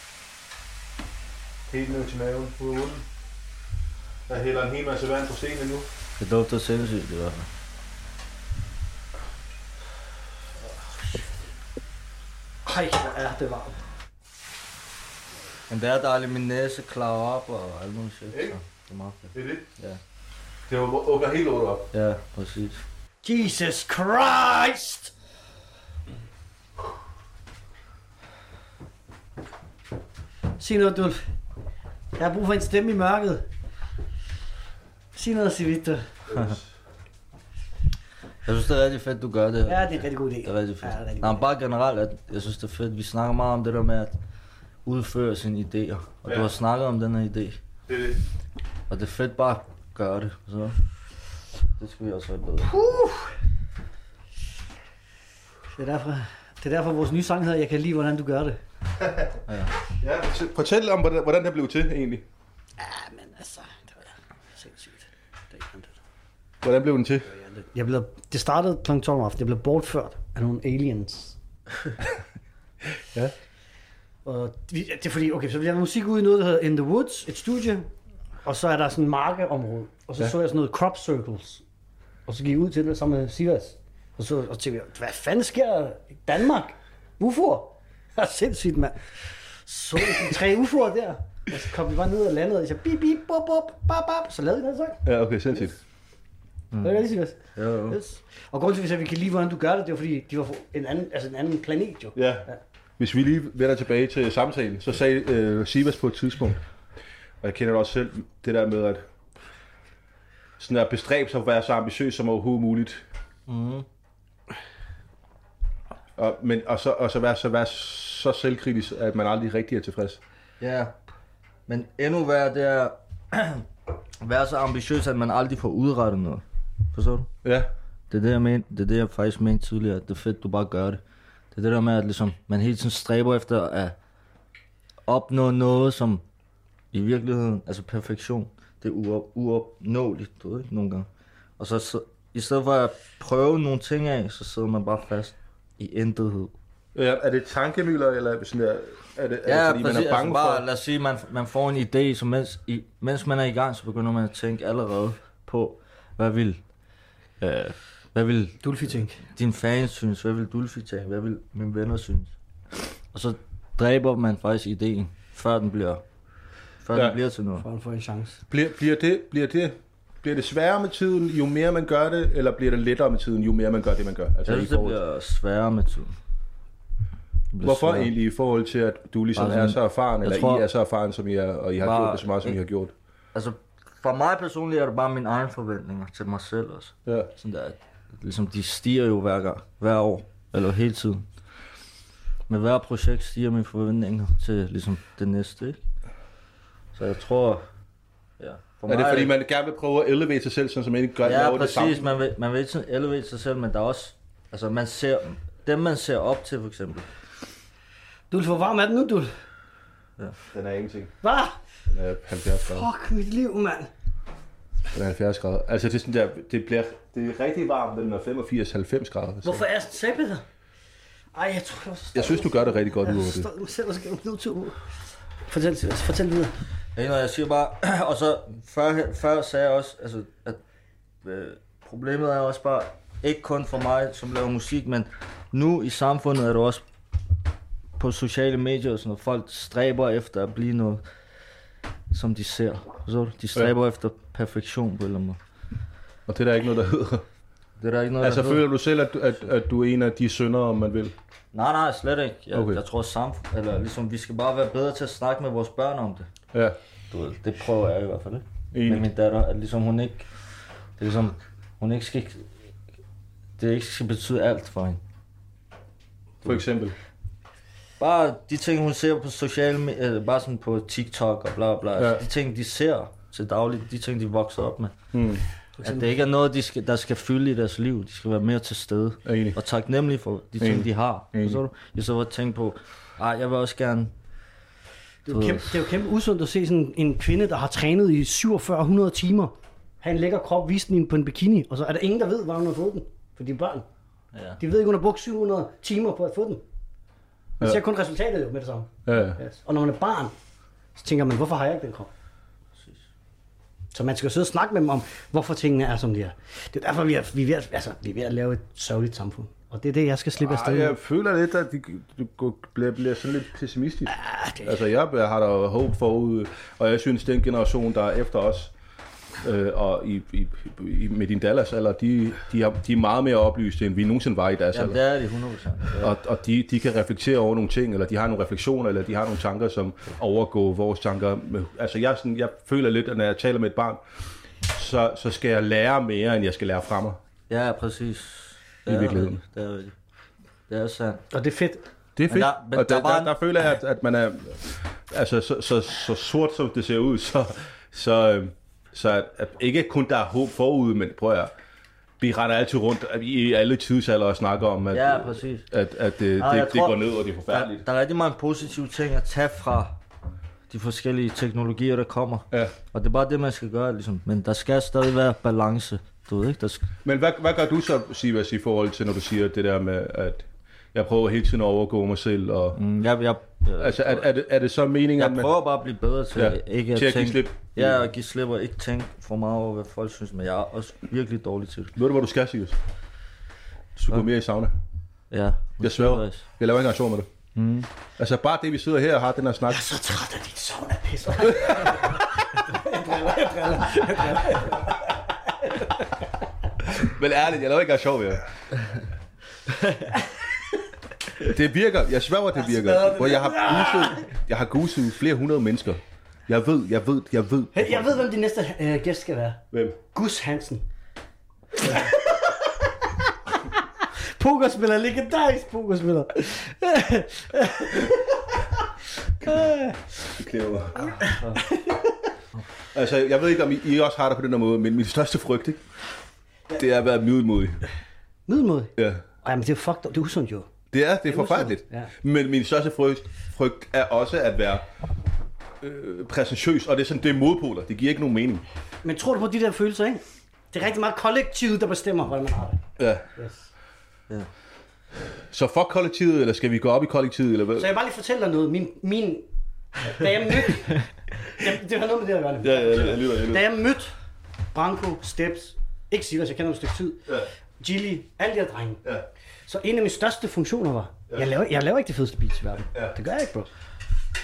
Helt ned til maven. Ud af munden. Jeg hælder en hel masse vand på stenen nu. Det dufter sindssygt i hvert fald. Ej, hvor er det varmt. Men det er dejligt, min næse klarer op og alt muligt shit. Ikke? Så det er meget fedt. Det er det. Ja. Det åbner helt lortet op. Ja, præcis. Jesus Christ! Sig noget, Dulf. Jeg har brug for en stemme i mørket. Sig noget, Sivita. Jeg synes, det er rigtig fedt, du gør det. Ja, det er en rigtig god idé. Det er rigtig fedt. Ja, det er rigtig Nej, god men bare generelt, at jeg synes, det er fedt. Vi snakker meget om det der med at udføre sine idéer. Og ja. Ja. du har snakket om den her idé. Det er det. Og det er fedt bare at gøre det. Så. Det skal vi også være bedre. idé. Det er, derfor, det er derfor, vores nye sang hedder, Jeg kan lide, hvordan du gør det. Ja, fortæl- fortæl om, hvordan, hvordan det blev til egentlig. Ja, men altså, det var sindssygt. Det er ikke andet. Hvordan blev den til? Jeg blev, det startede kl. 12 om aftenen. Jeg blev bortført af nogle aliens. Ja. Og vi- det er fordi, okay, så vi lavede musik ud i noget, der hedder In The Woods, et studie. Og så er der sådan en markeområde. Og så Ja. ja. så jeg sådan noget crop circles. Og så gik jeg ud til det sammen med Sivas. Og så og tænkte jeg, hvad fanden sker der i Danmark? UFO'er? Det er sindssygt, mand. Så de tre UFO'er der. Og så kom vi bare ned og landede, og jeg sagde, bip, bip, bop, bop, bop, bop. Så lavede vi den sang. Ja, okay, sindssygt. Mm. Det er det, Sivas. Jo, jo. Yes. Og grunden til, at vi sagde, at vi kan lide, hvordan du gør det, det var fordi, de var fra en anden, altså en anden planet jo. Ja. Hvis vi lige vender tilbage til samtalen, så sagde øh, Sivas på et tidspunkt, og jeg kender det også selv, det der med at, sådan at bestræbe sig at være så ambitiøs som overhovedet muligt. Mhm. Mm. Og, men, og, så, og så, være, så være så selvkritisk, at man aldrig rigtig er tilfreds. Ja. Men endnu værre, det er at være så ambitiøs, at man aldrig får udrettet noget. Forstår du? Ja, Det er det, jeg mente, det er det, jeg faktisk mente tidligere, at det er fedt, du bare gør det. Det er det der med, at ligesom, man hele tiden stræber efter at opnå noget, som i virkeligheden, altså perfektion, det er uop, uopnåeligt, du ved ikke, nogle gange. Og så, så i stedet for at prøve nogle ting af, så sidder man bare fast i intethed. Ja, er det tankemøller, eller er det sådan der, er det, er det fordi, man er bange altså bare, for... lad os sige, man, man får en idé, så mens, i, mens man er i gang, så begynder man at tænke allerede på, hvad vil, øh, hvad vil Dulfi tænk. dine fans synes, hvad vil Dulfi tænke, hvad vil mine venner synes. Og så dræber man faktisk ideen, før den bliver, før Ja. ja. den bliver til noget. For han får en chance. Bliver, bliver, det, bliver det Bliver det sværere med tiden, jo mere man gør det, eller bliver det lettere med tiden, jo mere man gør det, man gør? Altså, Jeg synes, i det forhold... bliver sværere med tiden. Det bliver Hvorfor sværere. egentlig i forhold til, at du ligesom Bare er sådan- så erfaren, Jeg eller tror- I er så erfaren, som I er, og I har Bare- gjort det så meget, som I har gjort? Altså, for mig personligt er det bare mine egne forventninger til mig selv også. Ja. Sådan der, at ligesom de stiger jo hver, gang, hver år, eller hele tiden. Med hver projekt stiger mine forventninger til ligesom det næste, ikke? Så jeg tror, ja. For Er det fordi, man gerne vil prøve at elevere sig selv, sådan som man ikke gør Ja, laver det samme? præcis. Man vil, man vil ikke sådan elevate sig selv, men der er også... Altså, man ser... Dem, man ser op til, for eksempel. Du er for varm af den nu, du. Den er ingenting. Hvad? Den er 70 grader. Fuck mit liv, mand. Den er 70 grader. Altså, det er sådan der, det bliver det er rigtig varmt, den er 85-90 grader. Så. Hvorfor er jeg sådan sagde Peter? Ej, jeg tror, jeg var så stolt. Jeg synes, du gør det rigtig godt ud Jeg over det. forstod mig selv, og så gav jeg en YouTube. Fortæl, Silas. fortæl videre. Ikke noget, jeg siger bare, og så før, før sagde jeg også, altså, at øh, problemet er også bare, ikke kun for mig, som laver musik, men nu i samfundet er du også på sociale medier og sådan noget, folk stræber efter at blive noget, som de ser. Så de stræber ja. efter perfektion på en eller anden måde. Og det er der ikke noget, der hedder. Det er der ikke noget, Altså, der hedder. føler du selv, at, at, at du er en af de syndere, om man vil? Nej, nej, slet ikke. Jeg, Okay. okay. jeg tror samf- eller ligesom, vi skal bare være bedre til at snakke med vores børn om det. Ja. Du ved, det prøver jeg i hvert fald, ikke? med Enig. min datter, at ligesom hun ikke, det er ligesom, hun ikke skal, det ikke skal betyde alt for hende. For eksempel. Bare de ting, hun ser på sociale, me- eller bare sådan på TikTok og bla bla, ja. Ja. altså, de ting, de ser til dagligt, de ting, de vokser op med. Hmm. At det ikke er noget, de skal, der skal fylde i deres liv. De skal være mere til stede. Er enig. Og taknemmelige for de ting, Enig. de har. Enig. Forstår du? I så at tænke på, ej, jeg vil også gerne... Det er, jo kæmpe, det er jo kæmpe usundt at se sådan en kvinde, der har trænet i 4700 timer, have en lækker krop, vise den i en- på en bikini, og så er der ingen, der ved, hvor hun har fået den. For de er børn. Ja. De ved ikke, hun har brugt 700 timer på at få den. Man Ja. ser kun resultatet jo med det samme. Ja. Yes. Og når man er barn, så tænker man, hvorfor har jeg ikke den krop? Så man skal jo sidde og snakke med dem om, hvorfor tingene er, som de er. Det er derfor, vi er, vi er, ved, at- altså, vi er ved at lave et sørgeligt samfund. Og det er det, jeg skal slippe af Ej, sted. jeg føler lidt, at det det går- bliver, bliver sådan lidt pessimistisk. Ah, det- Altså, jeg har da håb forud, og jeg synes, den generation, der er efter os, øh, og i, i, i, med din Dallas alder, de, de, har, de er meget mere oplyste, end vi nogensinde var i deres Jamen, alder. det er de 100%. Ja. Og, og de, de kan reflektere over nogle ting, eller de har nogle refleksioner, eller de har nogle tanker, som overgår vores tanker. med- Altså, jeg, er sådan, jeg føler lidt, at når jeg taler med et barn, så, så skal jeg lære mere, end jeg skal lære fra mig. Ja, præcis. Det I er virkeligheden. rigtigt. Det er rigtigt. Det er sandt. Og det er fedt. Det er Men fedt. der- men og der, der der, var der, en- der føler jeg, at, at man er... Altså, så, så, så sort som det ser ud, så... så øh, så at, at ikke kun der er håb forud, men prøv at høre, vi render altid rundt i alle tidsalder og snakker om, at, Ja, præcis. at, at, at det, Ah, det, jeg det tror- går ned, og det er forfærdeligt. Der, der er rigtig mange positive ting at tage fra de forskellige teknologier, der kommer. Ja. Og det er bare det, man skal gøre, ligesom. Men der skal stadig være balance, du ved ikke? Der skal... Men hvad, hvad gør du så, Sivas, i forhold til, når du siger det der med, at jeg prøver hele tiden at overgå mig selv? Og, mm. Mm, Jeg, jeg, øh, Altså, er, er, det, er det så meningen, jeg at man... prøver bare at blive bedre til, Ja, ja, ikke at, til at give tænke... slip. Ja, at give slip og ikke tænke for meget over, hvad folk synes. Men jeg er også virkelig dårlig til det. Ved du, hvor du skal, Sivas? Du skal gå mere i sauna. Ja. Jeg sværger. Jeg laver ikke engang sjov med det. Mm. Altså bare det, vi sidder her og har den her snak. Jeg er så træt af dit sauna-pis. Men ærligt, jeg laver ikke engang sjov med det. det virker. Jeg sværger, det virker. Hvor jeg har guset, jeg har guset flere hundrede mennesker. Jeg ved, jeg ved, jeg ved. Hey, jeg ved, hvem din næste øh, gæst skal være. Hvem? Gus Hansen. pokerspiller, legendarisk pokerspiller. Det klæder mig. altså, jeg ved ikke, om I, I også har det på den her måde, men min største frygt, ikke? det er at være middelmodig. Middelmod. Ja. Ej, men det er fucked up. Det er usundt jo. Det er, det er forfærdeligt. Ja. Men min største frygt, frygt er også at være øh, præsentiøs, og det er sådan, det er modpoler. Det giver ikke nogen mening. Men tror du på de der følelser, ikke? Det er rigtig meget kollektivet, der bestemmer, hvordan man har det. Ja. Yes. Så fuck kollektivet, eller skal vi gå op i kollektivet, eller hvad? Så jeg vil bare lige fortælle dig noget. Min, min... Da jeg mødte... Jamen, det har noget med det at gøre. nemlig. Ja, ja, jeg lytter, jeg Da lytter. jeg mødte Branko, Steps, ikke Silas, jeg kender ham et stykke tid, Ja. Gilly, alle de her drenge, Ja. så en af mine største funktioner var, jeg laver, jeg laver ikke det fedeste beats i verden. Ja. Det gør jeg ikke, bro.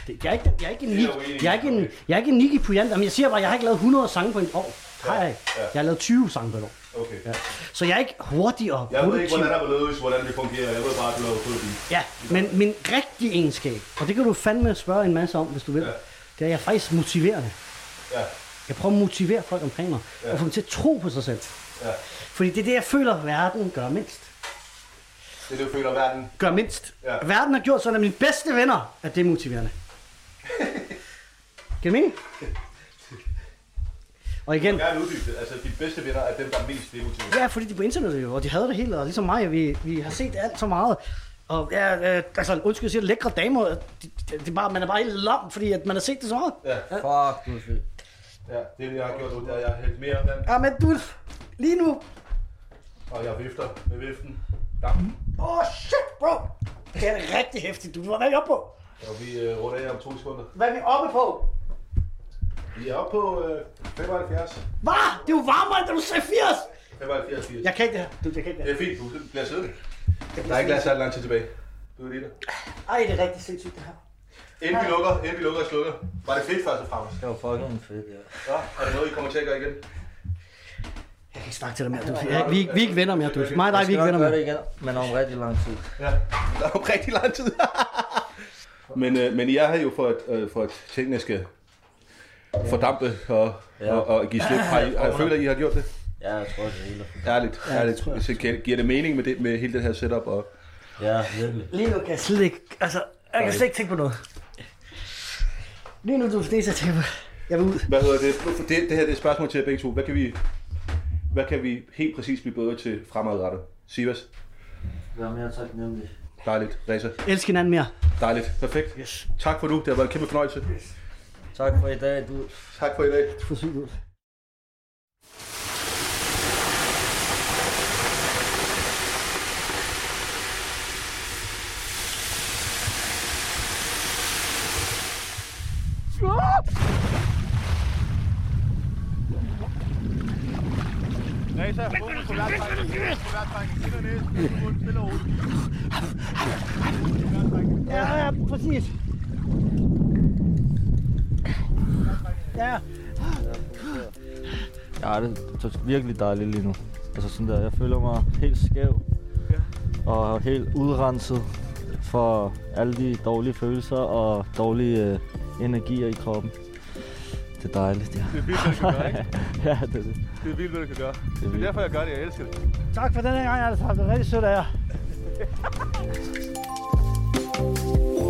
Det, jeg, er ikke, jeg er ikke en Det er Nick, jeg uenig i. jeg er ikke en, jeg er ikke en Nicky Pujan, men jeg siger bare, jeg har ikke lavet 100 sange på en år. Har jeg ikke. Jeg har lavet 20 sange på et år. Okay. Ja. Så jeg er ikke hurtig og Jeg ved ikke, produktiv. hvordan der er belødes, hvordan det fungerer. Jeg ved bare, at du laver fodbi. Ja, men min rigtige egenskab, og det kan du fandme spørge en masse om, hvis du vil, ja. Ja. det er, at jeg er faktisk motiverende. Ja, Jeg prøver at motivere folk omkring mig, ja. og få dem til at tro på sig selv. ja. Fordi det er det, jeg føler, verden gør mindst. Det er det, du føler verden. Gør mindst. Ja. Ja. Verden har gjort sådan, at mine bedste venner, at det er motiverende. Giver det mening? Og igen, Gerne uddybe det. Altså, de bedste venner er dem, der er mest demotiveret. Ja, fordi de er på internettet jo, og de havde det hele, og ligesom mig, vi, vi har set alt så meget. Og ja, øh, altså, undskyld, jeg siger det, lækre damer, de, de, det er bare, man er bare helt lam, fordi at man har set det så meget. Ja. Fuck, du er fed. Ja, det er det, jeg har gjort nu. Det er, Jeg har hældt mere vand, Ja, men du, lige nu, og jeg vifter med viften. Dam. åh oh, shit, bro, det er rigtig hæftigt, du var hvad er vi oppe på? Og vi øh, runder af om to sekunder. Hvad er vi oppe på? Vi er oppe på øh, 75. Hvad? Det er jo varmere, end da du sagde 80! 75, 80. Jeg kan ikke det her, du, jeg kan ikke det Det her. er fint, du bliver siddende. Der er ikke lavet særlig lang tid tilbage. Du er lige der. Ej, det er rigtig sindssygt det her. Inden vi lukker, inden vi lukker og slukker. Var det fedt først og fremmest? Det var fucking fedt, ja. Ja, er det noget, I kommer til at gøre igen? Jeg kan ikke snakke til dig mere, du. Jeg, vi, vi er ikke venner mere, du. Mig og dig, Jeg vi skal er ikke nok venner gøre mere. det igen, men om rigtig lang tid. Ja, der er jo rigtig lang tid. men, øh, men jeg har jo for at, øh, for at tingene skal fordampe og, Ja. ja. og, og give slip. Har I, har I følt, at I har gjort det? Ja, jeg tror, det hele. Ærligt. Ja, Ja, det ærligt. tror jeg. Så giver- giver det mening med, det, med hele det her setup? Og, Ja, virkelig. Lige nu kan jeg slet ikke, altså, jeg kan slet ikke tænke på noget. Lige nu, du er fnæs, jeg tænker på, jeg vil ud. hvad hedder det? det? Det her det er et spørgsmål til jer begge to. Hvad kan vi, hvad kan vi helt præcis blive bedre til fremadrettet? Sivas, Vær mere taknemmelig. dejligt. Reza, Elsk hinanden mere. dejligt. Perfekt. Yes. Tak for nu. Det har været en kæmpe fornøjelse. Tak for i dag, du. Tak for i dag. Du får sygt ud. Reza, fokus på vejrtrækningen. Fokus på vejrtrækningen. Ind og næse. Stille og roligt. Ja, ja, præcis. Ja, Ja, det det er virkelig dejligt lige nu. Altså sådan der, jeg føler mig helt skæv. Og helt udrenset for alle de dårlige følelser og dårlige øh, energier i kroppen. Det er dejligt, ja. Det er vildt, hvad det kan gøre, ikke? ja, det er det. Det er vildt, hvad det kan gøre. er Det er vildt. derfor, jeg gør det. Jeg elsker det. tak for den her gang, altså. Det er rigtig sødt af jer.